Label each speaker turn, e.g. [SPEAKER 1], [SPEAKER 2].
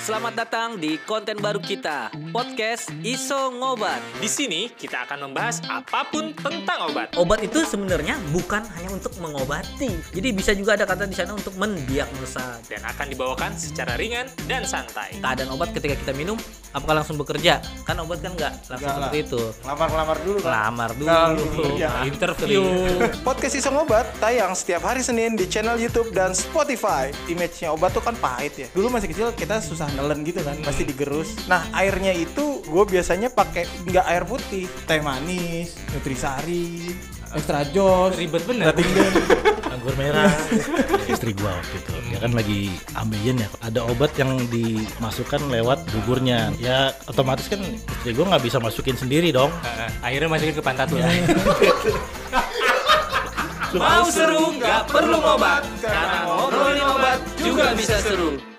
[SPEAKER 1] Selamat datang di konten baru kita, podcast Iso Ngobat.
[SPEAKER 2] Di sini kita akan membahas apapun tentang obat.
[SPEAKER 1] Obat itu sebenarnya bukan hanya untuk mengobati. Jadi bisa juga ada kata di sana untuk mendiagnosa.
[SPEAKER 2] Dan akan dibawakan secara ringan dan santai.
[SPEAKER 1] Keadaan obat ketika kita minum, apakah langsung bekerja? Kan obat kan nggak langsung
[SPEAKER 3] Nggak lah.
[SPEAKER 1] seperti itu.
[SPEAKER 3] Ngelamar-ngelamar dulu kan.
[SPEAKER 1] Lamar
[SPEAKER 3] Kalau
[SPEAKER 1] dulu,
[SPEAKER 2] iya.
[SPEAKER 3] bekerja.
[SPEAKER 1] interview.
[SPEAKER 3] Podcast Iseng Obat tayang setiap hari Senin di channel YouTube dan Spotify. Image-nya obat tuh kan pahit ya. Dulu masih kecil kita susah nelen gitu kan, pasti digerus. Nah, airnya itu gue biasanya pakai nggak air putih, teh manis, nutrisari, extra joss,
[SPEAKER 2] Ribet bener.
[SPEAKER 4] anggur merah istri gua waktu itu dia kan lagi ambeien ya ada obat yang dimasukkan lewat buburnya ya otomatis kan istri gua nggak bisa masukin sendiri dong
[SPEAKER 2] Heeh, akhirnya masukin ke pantatula. Mau seru, nggak perlu obat. Karena ngobrolin obat juga bisa seru.